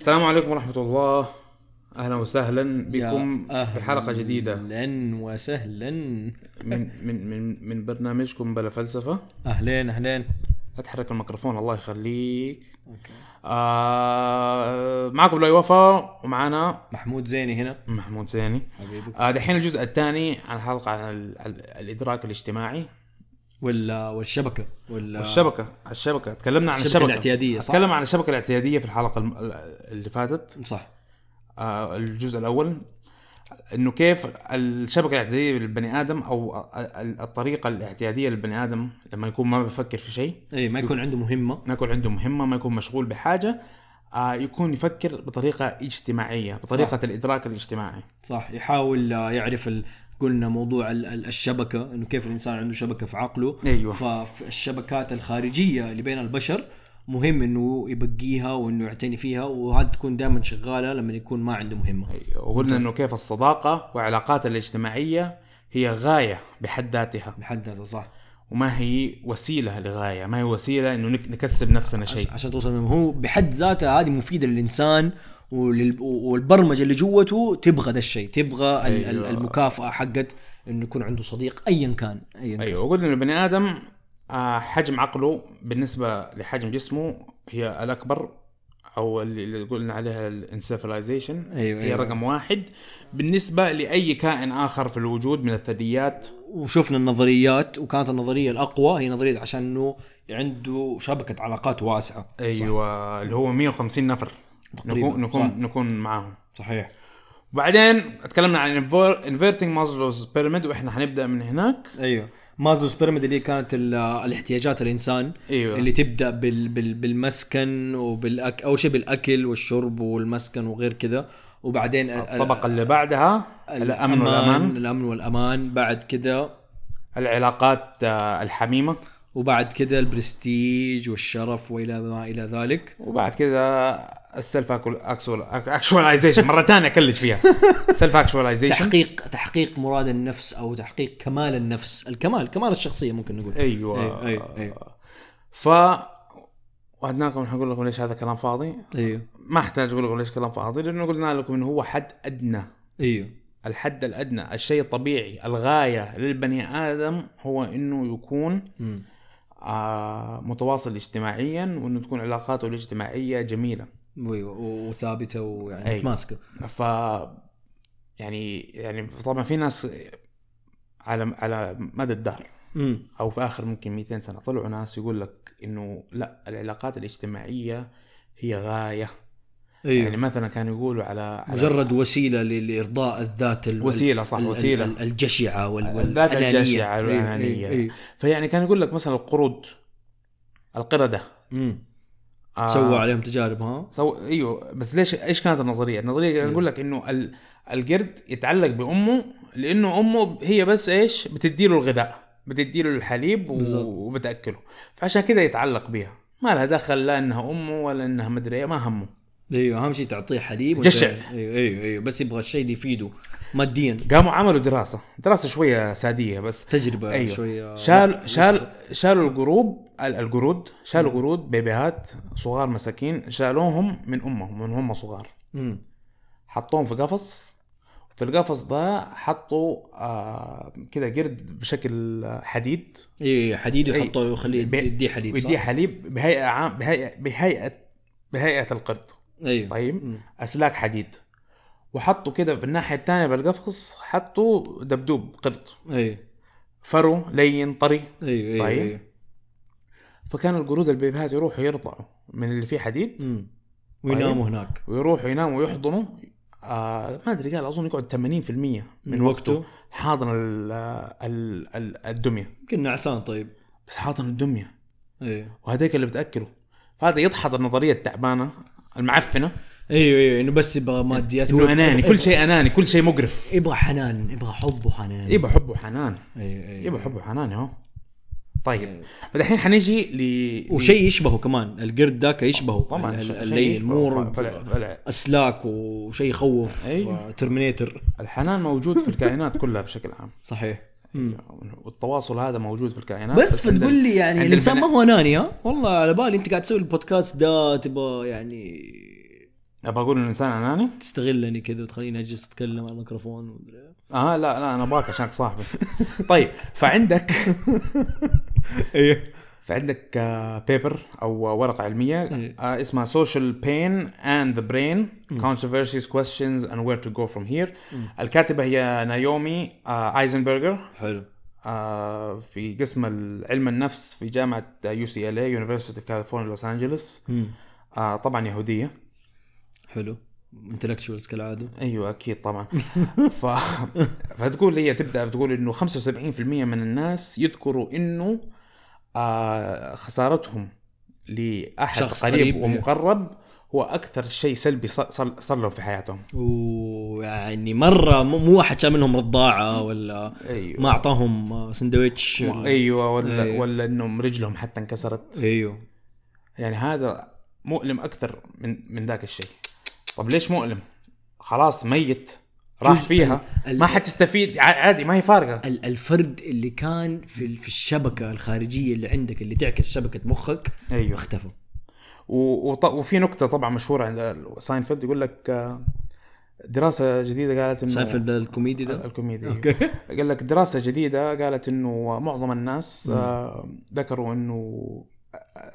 السلام عليكم ورحمة الله أهلا وسهلا بكم يا في حلقة جديدة اهلا وسهلا من من من من برنامجكم بلا فلسفة اهلين اهلين أتحرك الميكروفون الله يخليك آه معكم لؤي وفا ومعانا محمود زيني هنا محمود زيني حبيبي آه دحين الجزء الثاني عن الحلقة عن ال- ال- الإدراك الاجتماعي ولا والشبكه ولا والشبكة الشبكة تكلمنا عن الشبكة الشبكة الاعتيادية، صح؟ تكلمنا عن الشبكة الاعتيادية في الحلقة الم- اللي فاتت صح آه، الجزء الاول انه كيف الشبكه الاعتياديه للبني ادم او ال- ال- الطريقه الاعتياديه للبني ادم لما يكون ما بيفكر في شيء اي إيه، ما يكون عنده مهمه ما يكون عنده مهمه ما يكون مشغول بحاجه آه، يكون يفكر بطريقه اجتماعيه بطريقه صح. صح. الادراك الاجتماعي صح يحاول آه، يعرف ال... قلنا موضوع ال- ال- الشبكه انه كيف الانسان عنده شبكه في عقله أيوة. فالشبكات الخارجيه اللي بين البشر مهم انه يبقيها وانه يعتني فيها وهذه تكون دائما شغاله لما يكون ما عنده مهمه أيوة، وقلنا انه كيف الصداقه والعلاقات الاجتماعيه هي غايه بحد ذاتها بحد ذاتها صح وما هي وسيله لغايه ما هي وسيله انه نك- نكسب نفسنا شيء عشان توصل منهم هو بحد ذاتها هذه مفيده للانسان ولل... والبرمجه اللي جوته تبغى ده الشيء تبغى أيوة. أيوة. المكافاه حقت انه يكون عنده صديق ايا كان ايا كان ايوه وقلنا ان البني ادم آه، حجم عقله بالنسبه لحجم جسمه هي الاكبر او اللي اللي قلنا عليها الانسفلايزيشن أيوة، هي أيوة. رقم واحد بالنسبه لاي كائن اخر في الوجود من الثدييات وشفنا النظريات وكانت النظريه الاقوى هي نظريه عشان انه عنده شبكه علاقات واسعه ايوه اللي هو 150 نفر تقريباً، نكون صح. نكون نكون معاهم صحيح وبعدين تكلمنا عن انفيرتنج مازلوز بيراميد واحنا حنبدا من هناك ايوه مازلوس بيراميد اللي كانت ال- الاحتياجات الانسان ايوه اللي تبدا بال بال بالمسكن وبالاكل اول شيء بالاكل والشرب والمسكن وغير كذا وبعدين الطبقه اللي بعدها الامن والامان الامن والامان بعد كده العلاقات آه، الحميمه وبعد كده البرستيج والشرف والى ما الى ذلك وبعد كذا السلف اكسول اكشواليزيشن مره ثانيه اكلج فيها سلف اكشواليزيشن تحقيق تحقيق مراد النفس او تحقيق كمال النفس الكمال كمال الشخصيه ممكن نقول ايوه أيوة، أيوة. ف وعدناكم حنقول لكم ليش هذا كلام فاضي ايوه ما احتاج اقول لكم ليش كلام فاضي لانه قلنا لكم انه هو حد ادنى ايوه الحد الادنى الشيء الطبيعي الغايه للبني ادم هو انه يكون مم. آه متواصل اجتماعيا وانه تكون علاقاته الاجتماعيه جميله ايوه و- وثابته ويعني أيوة. متماسكه ف يعني يعني طبعا في ناس على على مدى الدهر امم او في اخر ممكن 200 سنه طلعوا ناس يقول لك انه لا العلاقات الاجتماعيه هي غايه ايوه يعني مثلا كانوا يقولوا على, على مجرد وسيله ل- لارضاء الذات ال... وسيله صح ال- وسيله ال- الجشعه وال... الذات والانانيه الجشعة والأنانية. أيوة. فيعني كان يقول لك مثلا القرود القرده أمم. آه، سووا عليهم تجارب ها سو... ايوه بس ليش ايش كانت النظريه؟ النظريه كان يقول لك انه ال... القرد يتعلق بامه لانه امه هي بس ايش؟ بتديله الغذاء بتديله الحليب و... بالظبط. وبتاكله فعشان كده يتعلق بيها ما لها دخل لا انها امه ولا انها مدري إيه، ما همه ايوه اهم شيء تعطيه حليب وت- جشع. ايوه ايوه ايوه بس يبغى الشيء اللي يفيده ماديا قاموا عملوا دراسه دراسه شويه ساديه بس تجربه أيوة. أيوه. شويه شال وسخة. شال شالوا القروب ال- القرود شالوا قرود بيبيهات صغار مساكين شالوهم من امهم من هم صغار أمم. حطوهم في قفص في القفص ده حطوا آه كده قرد بشكل آه، حديد اي أيوة، حديد أي. يحطه ويخليه أيوة، بي- يديه حليب ويديه صح؟ حليب بهيئه عام بهيئه بهيئه بهيئه القرد ايوه طيب. أمم. اسلاك حديد وحطوا كده بالناحيه الثانيه بالقفص حطوا دبدوب قرد ايوه فرو لين طري ايوه ايوه طيب. أيوه. فكان القرود البيبيهات يروحوا يرضعوا من اللي فيه حديد أمم. ويناموا هناك ويروحوا يناموا ويحضنوا آه ما ادري قال اظن يقعد 80% من, من من وقته. وقته, وقته حاضن ال- ال- ال- الدميه يمكن نعسان طيب بس حاطن الدميه ايوه وهذيك اللي بتاكله فهذا يدحض النظريه التعبانه المعفنه ايوه ايوه انه بس يبغى ماديات هو انه اناني يبغى- كل شيء اناني كل شيء مقرف يبغى حنان يبغى حب وحنان يبى حب وحنان ايوه ايوه يبى حب وحنان اهو طيب أيوة. الحين حنيجي ل وشيء يشبهه كمان القرد ذاك يشبهه طبعا ال- ال- شيء اللين يشبهه. مور فلع- فلع- اسلاك وشيء يخوف أيوة. آه، ترمينيتر الحنان موجود في الكائنات كلها بشكل عام صحيح والتواصل هذا موجود في الكائنات بس عند فتقول ال- لي يعني عند الانسان ما البنات- هو اناني ها والله على بالي انت قاعد تسوي البودكاست ده تبغى يعني ابغى اقول انه انسان اناني تستغلني كذا وتخليني اجلس اتكلم على الميكروفون ومدري إيه. اه لا لا انا ابغاك عشانك صاحبي طيب فعندك ايه فعندك بيبر او آه، ورقه علميه إيه. آه، اسمها سوشيال بين اند ذا برين كونتروفيرسيز كويستشنز اند وير تو جو فروم هير الكاتبه هي نايومي آه، ايزنبرجر حلو آه، في قسم ال- علم النفس في جامعه يو سي إيه، ال اي يونيفرستي اوف كاليفورنيا لوس انجلوس مم. طبعا يهوديه حلو انتلكشوالز كالعاده ايوه اكيد طبعا ف... فتقول هي تبدا بتقول انه 75% من الناس يذكروا انه آه خسارتهم لاحد شخص قريب قريب. ومقرب هو اكثر شيء سلبي ص- صار صار لهم في حياتهم ويعني مره مو- مو واحد شال منهم رضاعه ولا ايوه ما اعطاهم سندويتش ما- ايوه ولا أيوة. أيوة. ولا انهم رجلهم حتى انكسرت ايوه يعني هذا مؤلم اكثر من من ذاك الشيء طب ليش مؤلم خلاص ميت راح جزء- فيها ال- ما حتستفيد ع- عادي ما هي فارقه ال- الفرد اللي كان في ال- في الشبكه الخارجيه اللي عندك اللي تعكس شبكه مخك ايوه اختفى و- وط- وفي نكته طبعا مشهوره عند ساينفيلد يقول لك آه، دراسه جديده قالت انه سايفل ده الكوميدي ال- ده الكوميديا أيوه. اوكي قال لك دراسه جديده قالت انه معظم الناس آه، ذكروا انه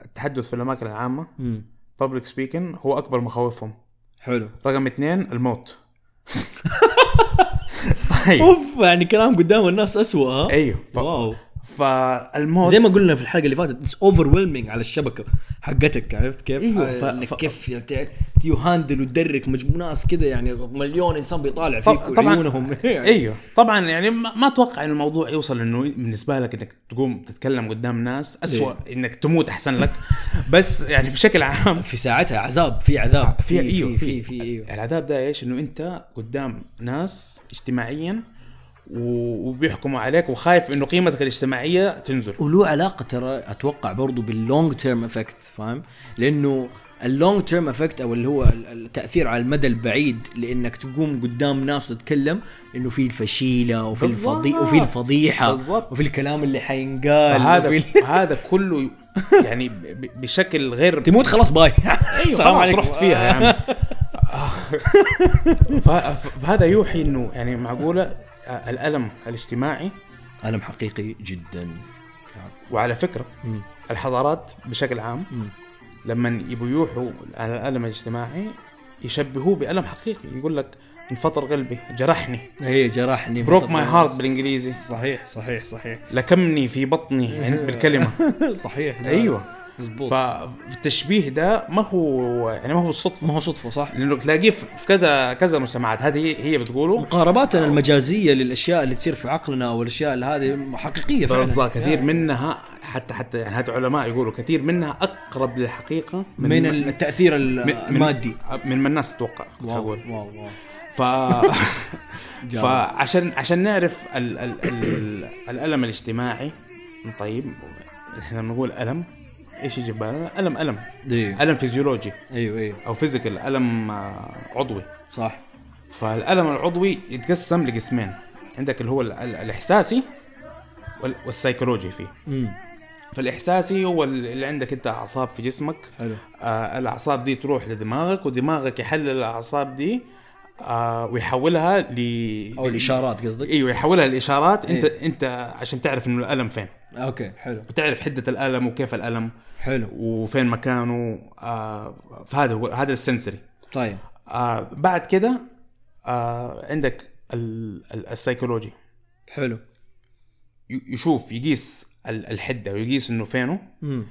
التحدث في الاماكن العامه مم. public speaking هو اكبر مخاوفهم حلو رقم اثنين الموت طيب اوف يعني كلام قدام الناس اسوء ها ايوه ف... واو فالموت زي ما قلنا في الحلقه اللي فاتت اتس اوفر على الشبكه حقتك عرفت كيف؟ أيوة، آه، ف- إنك ف- كيف يعني تع- تيهاندل وتدرك مجموعة ناس كذا يعني مليون انسان بيطالع فيك طب- طبعا وعيونهم يعني. ايوه طبعا يعني ما ما اتوقع ان الموضوع يوصل انه بالنسبه لك انك تقوم تتكلم قدام ناس اسوء انك تموت احسن لك بس يعني بشكل عام إيه. في ساعتها عذاب في عذاب في ايوه في في ايوه العذاب ده ايش انه انت قدام ناس اجتماعيا و- وبيحكموا عليك وخايف انه قيمتك الاجتماعيه تنزل وله علاقه ترى اتوقع برضو باللونج تيرم افكت فاهم؟ لانه اللونج تيرم افكت او اللي هو ال- التاثير على المدى البعيد لانك تقوم قدام ناس وتتكلم انه في الفشيله وفي الفضي بالظبط. وفي الفضيحه بالظبط. وفي الكلام اللي حينقال وفي فهذا ال- هذا كله يعني ب- ب- بشكل غير تموت خلاص باي ايوه السلام خلاص عليكم. رحت فيها يا عم ف- فهذا يوحي انه يعني معقوله آه، الالم الاجتماعي الم حقيقي جدا وعلى فكره الحضارات بشكل عام مم. لما يبوا يوحوا على الالم الاجتماعي يشبهوه بالم حقيقي يقول لك انفطر قلبي جرحني هي جرحني Broke my heart بالإنجليزي. صحيح صحيح صحيح لكمني في بطني عند- بالكلمه صحيح ايوه مزبوط فالتشبيه ده ما هو يعني ما هو الصدفه ما هو صدفه صح لانه تلاقيه في في كذا كذا مجتمعات هذه هي بتقوله مقارباتنا المجازيه للاشياء اللي تصير في عقلنا او الاشياء اللي هذه حقيقيه فعلا بالضبط كثير منها حتى حتى يعني هذا علماء يقولوا كثير منها اقرب للحقيقه من, من التاثير ال- من- من- المادي من ما الناس تتوقع واو اقول واو واو ف جامد. فعشان عشان نعرف ال... ال... ال... الالم الاجتماعي طيب احنا لما نقول الم ايش يجي في بالنا؟ الم الم ايوه الم فيزيولوجي ايوه ايوه او فيزيكال الم آه، عضوي صح فالالم العضوي يتقسم لقسمين عندك اللي هو ال... ال... الاحساسي وال... والسيكولوجي فيه امم فالاحساسي هو اللي عندك انت اعصاب في جسمك حلو آه الاعصاب دي تروح لدماغك ودماغك يحلل الاعصاب دي آه ويحولها ل او الاشارات قصدك ايوه يحولها لاشارات انت انت عشان تعرف انه الالم فين اوكي حلو وتعرف حده الالم وكيف الالم حلو وفين مكانه آه فهذا هو هذا السنسري طيب آه بعد كده آه عندك ال- ال- السيكولوجي حلو ي- يشوف يقيس ال- الحده ويقيس انه فينه امم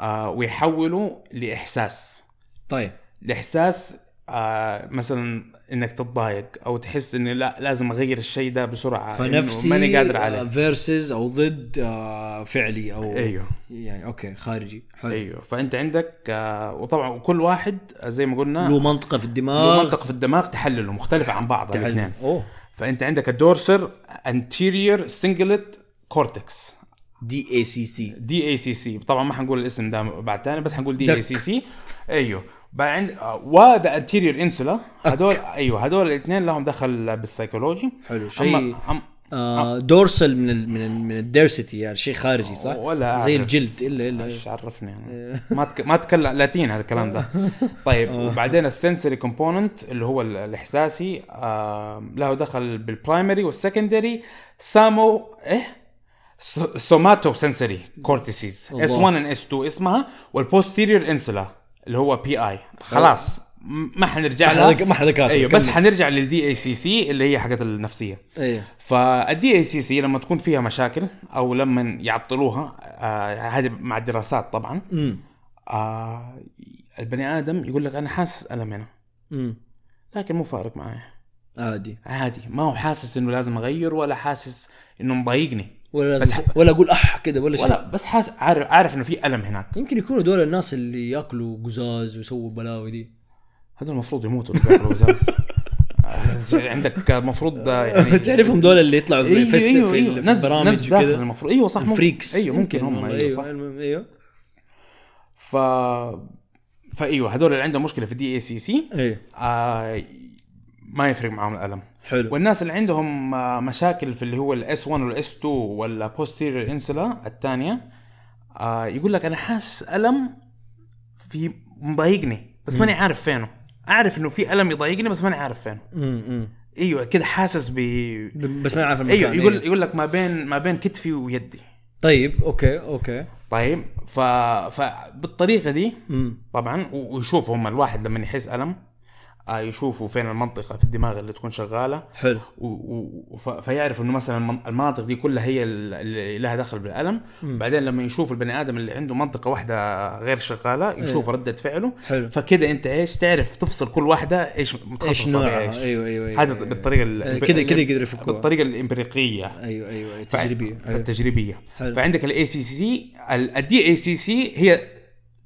آه ويحوله لاحساس طيب الاحساس آه مثلا انك تتضايق او تحس اني لا لازم اغير الشيء ده بسرعه فنفسي آه، آه، إنه ماني قادر عليه فيرسز او ضد آه، فعلي او ايوه يعني اوكي خارجي حلو ايوه فانت عندك آه وطبعا كل واحد آه، زي ما قلنا له منطقه في له الدماغ منطقه في الدماغ تحلله مختلفه عن بعض تعال- الاثنين اوه فانت عندك الدورسر انتيريور سنجلت كورتكس دي اي سي سي دي اي سي سي طبعا ما حنقول الاسم ده بعد ثاني بس حنقول دي دك. اي سي سي ايوه بقى عند وذا أيوه، انتيريور انسولا هذول ايوه هذول الاثنين لهم دخل بالسيكولوجي حلو أما- شيء أم- آه دورسل من ال من ال من الديرسيتي يعني شيء خارجي صح؟ ولا أعرف. زي الجلد الا الا ايش عرفني انا ما تك... ما اتكلم لاتين هذا الكلام ده طيب وبعدين السنسوري كومبوننت اللي هو ال- الاحساسي آه له دخل بالبرايمري والسكندري سامو ايه س- سوماتو سنسوري كورتيسيز الله. اس 1 ان اس 2 اسمها والبوستيريور انسلا اللي هو بي اي خلاص م- ما حنرجع ما لها حدا- ما حدا كاتب. ايوه بس كمل. حنرجع للدي اي سي سي اللي هي حقت النفسيه ايه فالدي اي سي سي لما تكون فيها مشاكل او لما يعطلوها آه، هذه مع الدراسات طبعا امم آه البني ادم يقول لك انا حاسس الم هنا امم لكن مو فارق معايا عادي عادي ما هو حاسس انه لازم اغير ولا حاسس انه مضايقني ولا بس لازم ولا اقول اح كده ولا شيء ولا بس حاس عارف عارف انه في الم هناك يمكن يكونوا دول الناس اللي ياكلوا قزاز ويسووا بلاوي دي هذول المفروض يموتوا اللي بياكلوا قزاز. آه، عندك المفروض يعني تعرفهم دول اللي يطلعوا في ايوه الفست- ايوه في ال- ايوه ناس في ناس البرامج داخل وكذا المفروض ايوه صح ممكن فريكس ايوه ممكن هم والله، ايوه صح المهم، ايوه ف فايوه هذول اللي عندهم مشكله في الدي اي سي سي ايه آه، ما يفرق معاهم الالم حلو والناس اللي عندهم آه، مشاكل في اللي هو الاس 1 والاس 2 ولا posterior انسلا الثانيه آه، يقول لك انا حاسس الم في مضايقني بس ماني عارف فينه اعرف انه في الم يضايقني بس ماني عارف فينه امم ايوه كده حاسس ب امم بس ما عارف المكان ايوه يقول يقول لك ما بين ما بين كتفي ويدي طيب اوكي اوكي طيب ف... فبالطريقه دي امم طبعا و- ويشوفوا هم الواحد لما يحس الم آه، يشوفوا فين المنطقه في الدماغ اللي تكون شغاله حلو و- و- وف- فيعرف انه مثلا المن- المناطق دي كلها هي ال- اللي لها دخل بالالم بعدين لما يشوف البني ادم اللي عنده منطقه واحده غير شغاله يشوف رده فعله حلو. فكده انت ايش تعرف تفصل كل واحده ايش متخصصه بإيش. نوعها؟ أيوة، أيوة، أيوة، هذا أيوة. بالطريقه ال- آه، كده- كده يقدروا يفكوها. بالطريقه الامبريقيه ايوه ايوه أيوة، ف- تجريبيه أيوة. التجريبيه حلو. فعندك الاي سي سي الدي اي سي سي هي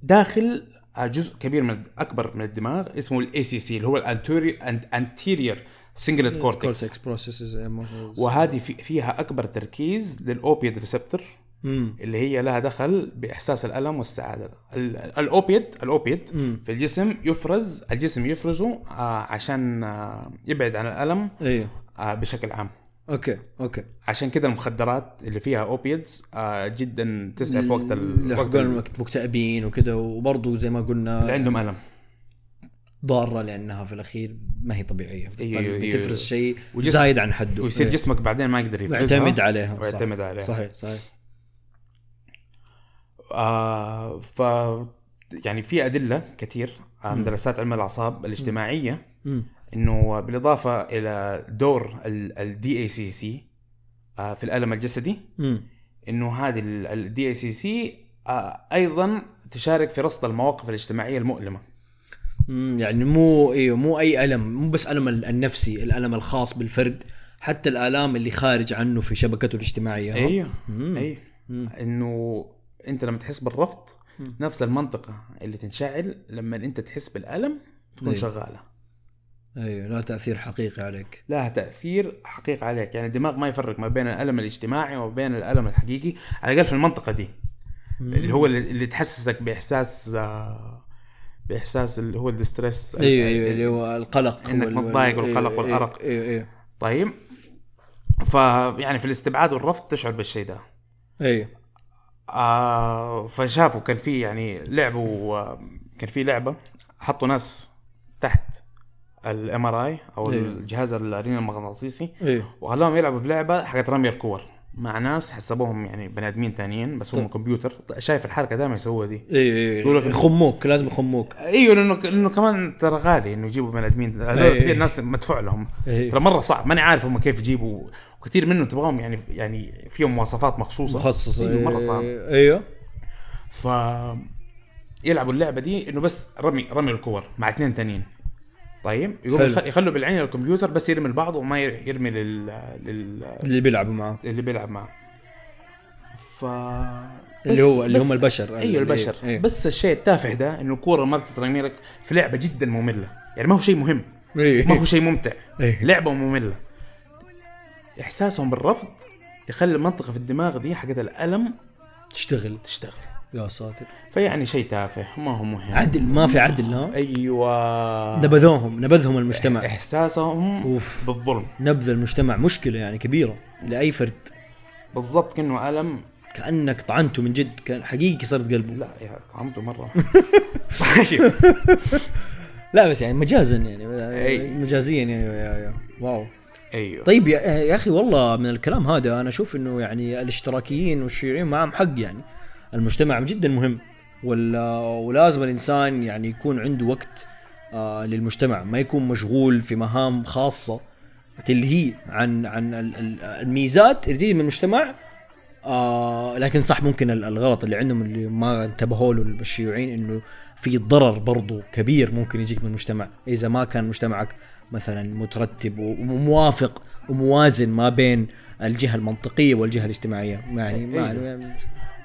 داخل آه، جزء كبير من اكبر من الدماغ اسمه الاي سي سي اللي هو الانتيريور سنجلت كورتكس cortex processes إيه، emotions. وهذه في فيها اكبر تركيز للاوبيد ريسبتور امم اللي هي لها دخل باحساس الالم والسعاده ال- الاوبيد الاوبيد مم. في الجسم يفرز الجسم يفرزه آه، عشان آه، يبعد عن الالم ايوه آه، بشكل عام اوكي اوكي عشان كذا المخدرات اللي فيها اوبيدز آه، جدا تسعف وقت ال... وقت ال- وقت مكتئبين وكذا وبرضه زي ما اللي قلنا عندهم الم ضاره لانها في الاخير ما هي طبيعيه أيوة، طيب، أيوة. بتفرز شيء وجسم- زايد عن حده ويصير أيوة. جسمك بعدين ما يقدر يفرزها معتمد عليها صح. ويعتمد عليها صحيح صحيح آه ف يعني في ادله كثير آه، من دراسات علم الاعصاب الاجتماعيه امم انه بالاضافه الى دور الدي اي سي سي آه، في الالم الجسدي امم انه هذه الدي اي سي سي ايضا آه، تشارك في رصد المواقف الاجتماعيه المؤلمه مم، يعني مو ايوه مو اي الم مو بس الم ال- النفسي الالم الخاص بالفرد حتى الالام اللي خارج عنه في شبكته الاجتماعيه أيوه. مم. ايوه مم. انه انت لما تحس بالرفض مم. نفس المنطقه اللي تنشعل لما انت تحس بالالم تكون أيوة. شغاله ايوه لا تاثير حقيقي عليك لها تاثير حقيقي عليك يعني الدماغ ما يفرق ما بين الالم الاجتماعي وما بين الالم الحقيقي على الاقل في المنطقه دي اللي هو اللي, اللي تحسسك باحساس آه، باحساس اللي هو الستريس ايوه ايوه اللي هو القلق إنك وال- وال- متضايق أيوة، والقلق أيوة، والأرق. ايوه ايوه طيب ف يعني في الاستبعاد والرفض تشعر بالشيء ده ايوه آه فشافوا كان في يعني لعبوا آه، كان في لعبه حطوا ناس تحت الام ار اي او أيوة. الجهاز الرنين المغناطيسي ايوه وخلاهم يلعبوا في لعبه حقت رمي الكور مع ناس حسبوهم يعني بني ادمين ثانيين بس هم طيب. كمبيوتر شايف الحركه دائما يسووها دي ايوه ايوه يقول لك- يخموك لازم يخموك ايوه لانه لانه كمان ترى غالي انه يجيبوا بني ادمين هذول أيوة. كثير ناس مدفوع لهم أيوة. ترى مره صعب ماني عارف هم كيف يجيبوا وكثير منهم تبغاهم يعني يعني فيهم مواصفات مخصوصه مخصص ايوه مره صعب أيوة، ايوه ف يلعبوا اللعبه دي انه بس رمي رمي الكور مع اثنين ثانيين طيب يقوم حلو. يخ- يخلوا بالعين الكمبيوتر بس يرمي لبعض وما ي- يرمي لل, لل... اللي بيلعبوا معاه اللي بيلعب معه ف اللي بس- هو- اللي هم بس- البشر. ايوه البشر أيوة. بس الشيء التافه ده انه الكوره ما بتترمي لك في لعبه جدا ممله يعني ما هو شيء مهم ما هو ايوه شيء ممتع أيوة. لعبه ممله احساسهم بالرفض يخلي المنطقه في الدماغ دي حقت الالم تشتغل تشتغل يا ساتر فيعني شيء تافه ما هو مهم عدل ما في عدل ها آه. ايوه نبذوهم نبذهم المجتمع احساسهم أوف. بالظلم نبذ المجتمع مشكله يعني كبيره لاي فرد بالضبط كانه الم كانك طعنته من جد كان حقيقي كسرت قلبه لا يا طعمته مره طيب لا بس يعني مجازا يعني أي. مجازيا يعني يا يا. واو ايوه طيب يا, يا اخي والله من الكلام هذا انا اشوف انه يعني الاشتراكيين والشيوعيين معهم حق يعني المجتمع جدا مهم ولا ولازم الانسان يعني يكون عنده وقت آه للمجتمع ما يكون مشغول في مهام خاصه تلهيه عن عن ال- ال- الميزات اللي تيجي من المجتمع آه لكن صح ممكن ال- الغلط اللي عندهم اللي ما انتبهوا له الشيوعيين انه في ضرر برضو كبير ممكن يجيك من المجتمع اذا ما كان مجتمعك مثلا مترتب و- وموافق وموازن ما بين الجهه المنطقيه والجهه الاجتماعيه يعني إيه. ما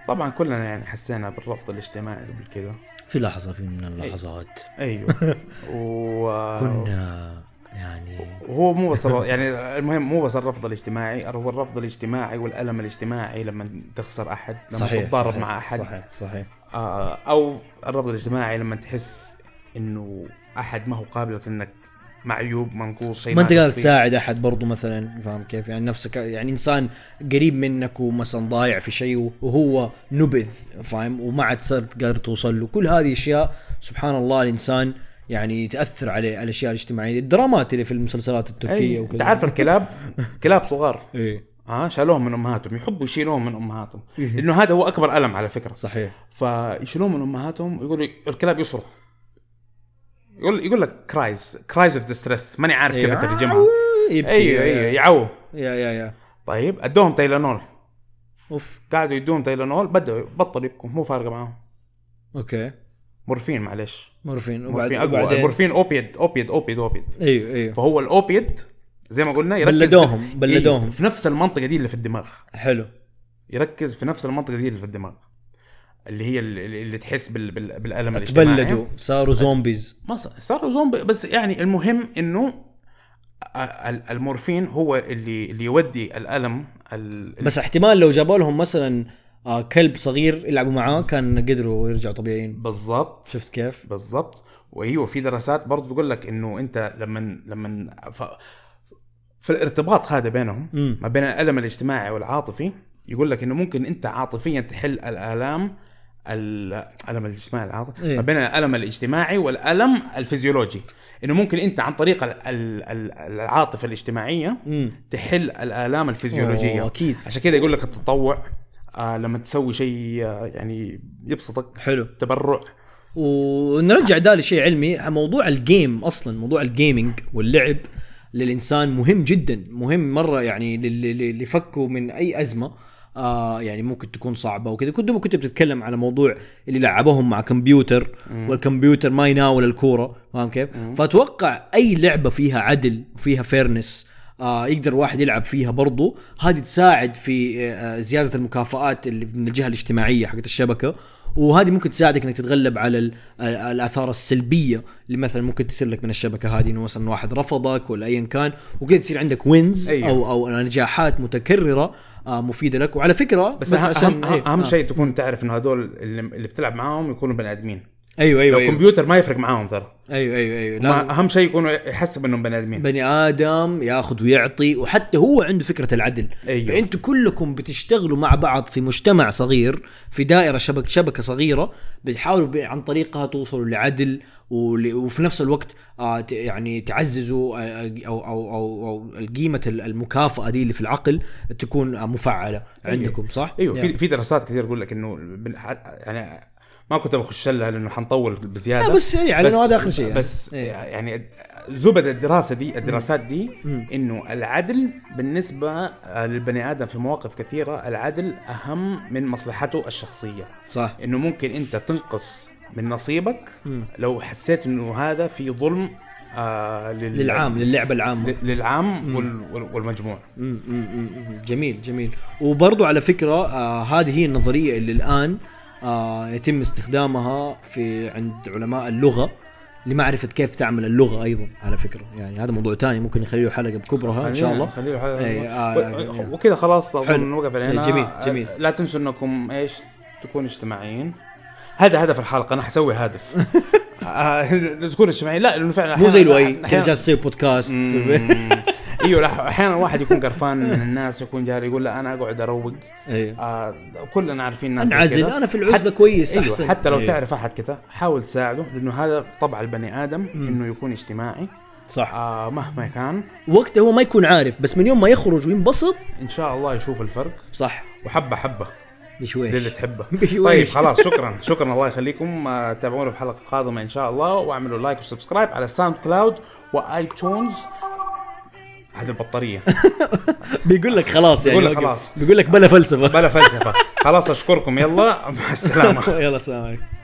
طبعا كلنا يعني حسينا بالرفض الاجتماعي قبل كذا في لحظه في من اللحظات ايوه و كنا يعني هو مو بس الر- يعني المهم مو بس الرفض الاجتماعي هو الرفض الاجتماعي والالم الاجتماعي لما تخسر احد لما صحيح تتضارب صحيح مع احد صحيح صحيح آه، او الرفض الاجتماعي لما تحس انه احد ما هو قابلك انك معيوب منقوص شيء ما انت قادر ناقص فيه. تساعد احد برضو مثلا فاهم كيف يعني نفسك يعني انسان قريب منك ومثلا ضايع في شيء وهو نبذ فاهم وما عاد صرت قادر توصل له كل هذه اشياء سبحان الله الانسان يعني تاثر عليه الاشياء الاجتماعيه الدرامات اللي في المسلسلات التركيه أي، وكذا انت إيه، عارف الكلاب كلاب صغار ايه ها شالوهم من امهاتهم يحبوا يشيلوهم من امهاتهم إيه. لانه هذا هو اكبر الم على فكره صحيح فيشيلوهم من امهاتهم يقولوا الكلاب يصرخ يقول يقول لك كرايز كرايز اوف ديستريس ماني عارف كيف إيه. اترجمها يبكي ايوه ايوه يعو يا يا يا طيب ادوهم تايلانول اوف قعدوا يدوهم تايلانول بدأوا بطلوا يبكوا مو فارقه معاهم اوكي مورفين معلش مورفين وبعد مورفين اقوى وبعدين مورفين اوبيد اوبيد اوبيد اوبيد ايوه ايوه فهو الاوبيد زي ما قلنا يركز بلدوهم، في... بلدوهم. إيه، في نفس المنطقه دي اللي في الدماغ حلو يركز في نفس المنطقه دي اللي في الدماغ اللي هي اللي, اللي تحس بال... بال... بالالم الاجتماعي. تبلدوا صاروا زومبيز ما صار صاروا زومبي بس يعني المهم انه ال- ال- المورفين هو اللي اللي يودي الالم ال... بس احتمال لو جابوا لهم مثلا آه كلب صغير يلعبوا معاه كان قدروا يرجعوا طبيعيين بالضبط شفت كيف؟ بالضبط وايوه في دراسات برضو تقول لك انه انت لما لما ف... في الارتباط هذا بينهم مم. ما بين الالم الاجتماعي والعاطفي يقول لك انه ممكن انت عاطفيا تحل الالام ال- الالم الاجتماعي العاطفي إيه. ما بين الالم الاجتماعي والالم الفيزيولوجي انه ممكن انت عن طريق ال- ال- ال- العاطفه الاجتماعيه امم تحل الالام الفيزيولوجيه أوه، أكيد. عشان كذا يقول لك التطوع آه لما تسوي شيء آه يعني يبسطك حلو تبرع ونرجع ده لشيء علمي موضوع الجيم اصلا موضوع الجيمنج واللعب للانسان مهم جدا مهم مره يعني لل- لل- اللي فكوا من اي ازمه آه يعني ممكن تكون صعبه وكذا كنت كنت بتتكلم على موضوع اللي لعبوهم مع كمبيوتر والكمبيوتر ما يناول الكوره فاهم كيف؟ فاتوقع اي لعبه فيها عدل وفيها فيرنس آه يقدر الواحد يلعب فيها برضو هذه تساعد في آه، آه، زياده المكافآت اللي من الجهه الاجتماعيه حقت الشبكه وهذه ممكن تساعدك انك تتغلب على ال- آه، الاثار السلبيه اللي مثلا ممكن تصير لك من الشبكه هذه انه مثلا واحد رفضك ولا ايا كان وكذا تصير عندك وينز أيوة. او او نجاحات متكرره آه، مفيده لك وعلى فكره بس, بس عشان اهم, إيه، أهم آه. شيء تكون تعرف انه هذول اللي, اللي بتلعب معاهم يكونوا بني ادمين ايوه لو ايوه ايوه كمبيوتر ما يفرق معاهم ترى ايوه ايوه, أيوة. هم لازم اهم شيء يكونوا يحسب انهم بني ادمين بني ادم ياخذ ويعطي وحتى هو عنده فكره العدل أيوه. فانتوا كلكم بتشتغلوا مع بعض في مجتمع صغير في دائره شبك شبكه صغيره بتحاولوا ب- عن طريقها توصلوا لعدل ول- وفي نفس الوقت آه، ت- يعني تعززوا آه، آه، او او او, أو قيمه ال- المكافاه دي اللي في العقل تكون آه، مفعله عندكم صح؟ ايوه في يعني. في دراسات كثير تقول لك انه بن- ح- يعني ما كنت بخش لها لانه حنطول بزياده لا بس يعني على إنه هذا آخر شيء يعني. بس إيه. يعني زبد الدراسه دي الدراسات دي انه العدل بالنسبه للبني ادم في مواقف كثيره العدل اهم من مصلحته الشخصيه صح انه ممكن انت تنقص من نصيبك لو حسيت انه هذا في ظلم آه لل... للعام للعبه العامه ل- للعام وال... وال- والمجموع مم، مم، مم. جميل جميل وبرضو على فكرة آه هذه هي النظرية اللي الآن آه يتم استخدامها في عند علماء اللغة لمعرفة كيف تعمل اللغة أيضا على فكرة يعني هذا موضوع تاني ممكن نخليه حلقة بكبرها إن شاء الله آه، نعم، خليه إيه، آه، و... وكذا خلاص اظن حلو. إيه، وقف علينا جميل، جميل. لا تنسوا انكم ايش تكونوا اجتماعيين هذا هدف الحلقه انا حسوي هدف آه، تكون اجتماعي لا لانه فعلا مو زي أحياناً- الوي كان أحياناً- جالس يسوي بودكاست في البيت. مم. ايوه لا، احيانا الواحد يكون قرفان من الناس يكون جاري يقول لا انا اقعد اروق ايوه آه كلنا عارفين ناس زي انعزل كذا. انا في العزله حتى- كويس أيوة احسن حتى لو أيوة. تعرف احد كذا حاول تساعده لانه هذا طبع البني ادم انه يكون اجتماعي صح آه مهما كان وقته هو ما يكون عارف بس من يوم ما يخرج وينبسط ان شاء الله يشوف الفرق صح وحبه حبه للي بشويش تحبه بشويش. طيب خلاص شكرا شكرا الله يخليكم آه، تابعونا في حلقه قادمه ان شاء الله واعملوا لايك وسبسكرايب على ساوند كلاود وايتونز هذه البطاريه بيقول لك خلاص يعني بيقول لك وقف. خلاص. بيقول لك بلا فلسفه بلا فلسفه خلاص اشكركم يلا مع السلامه يلا سلام عليكم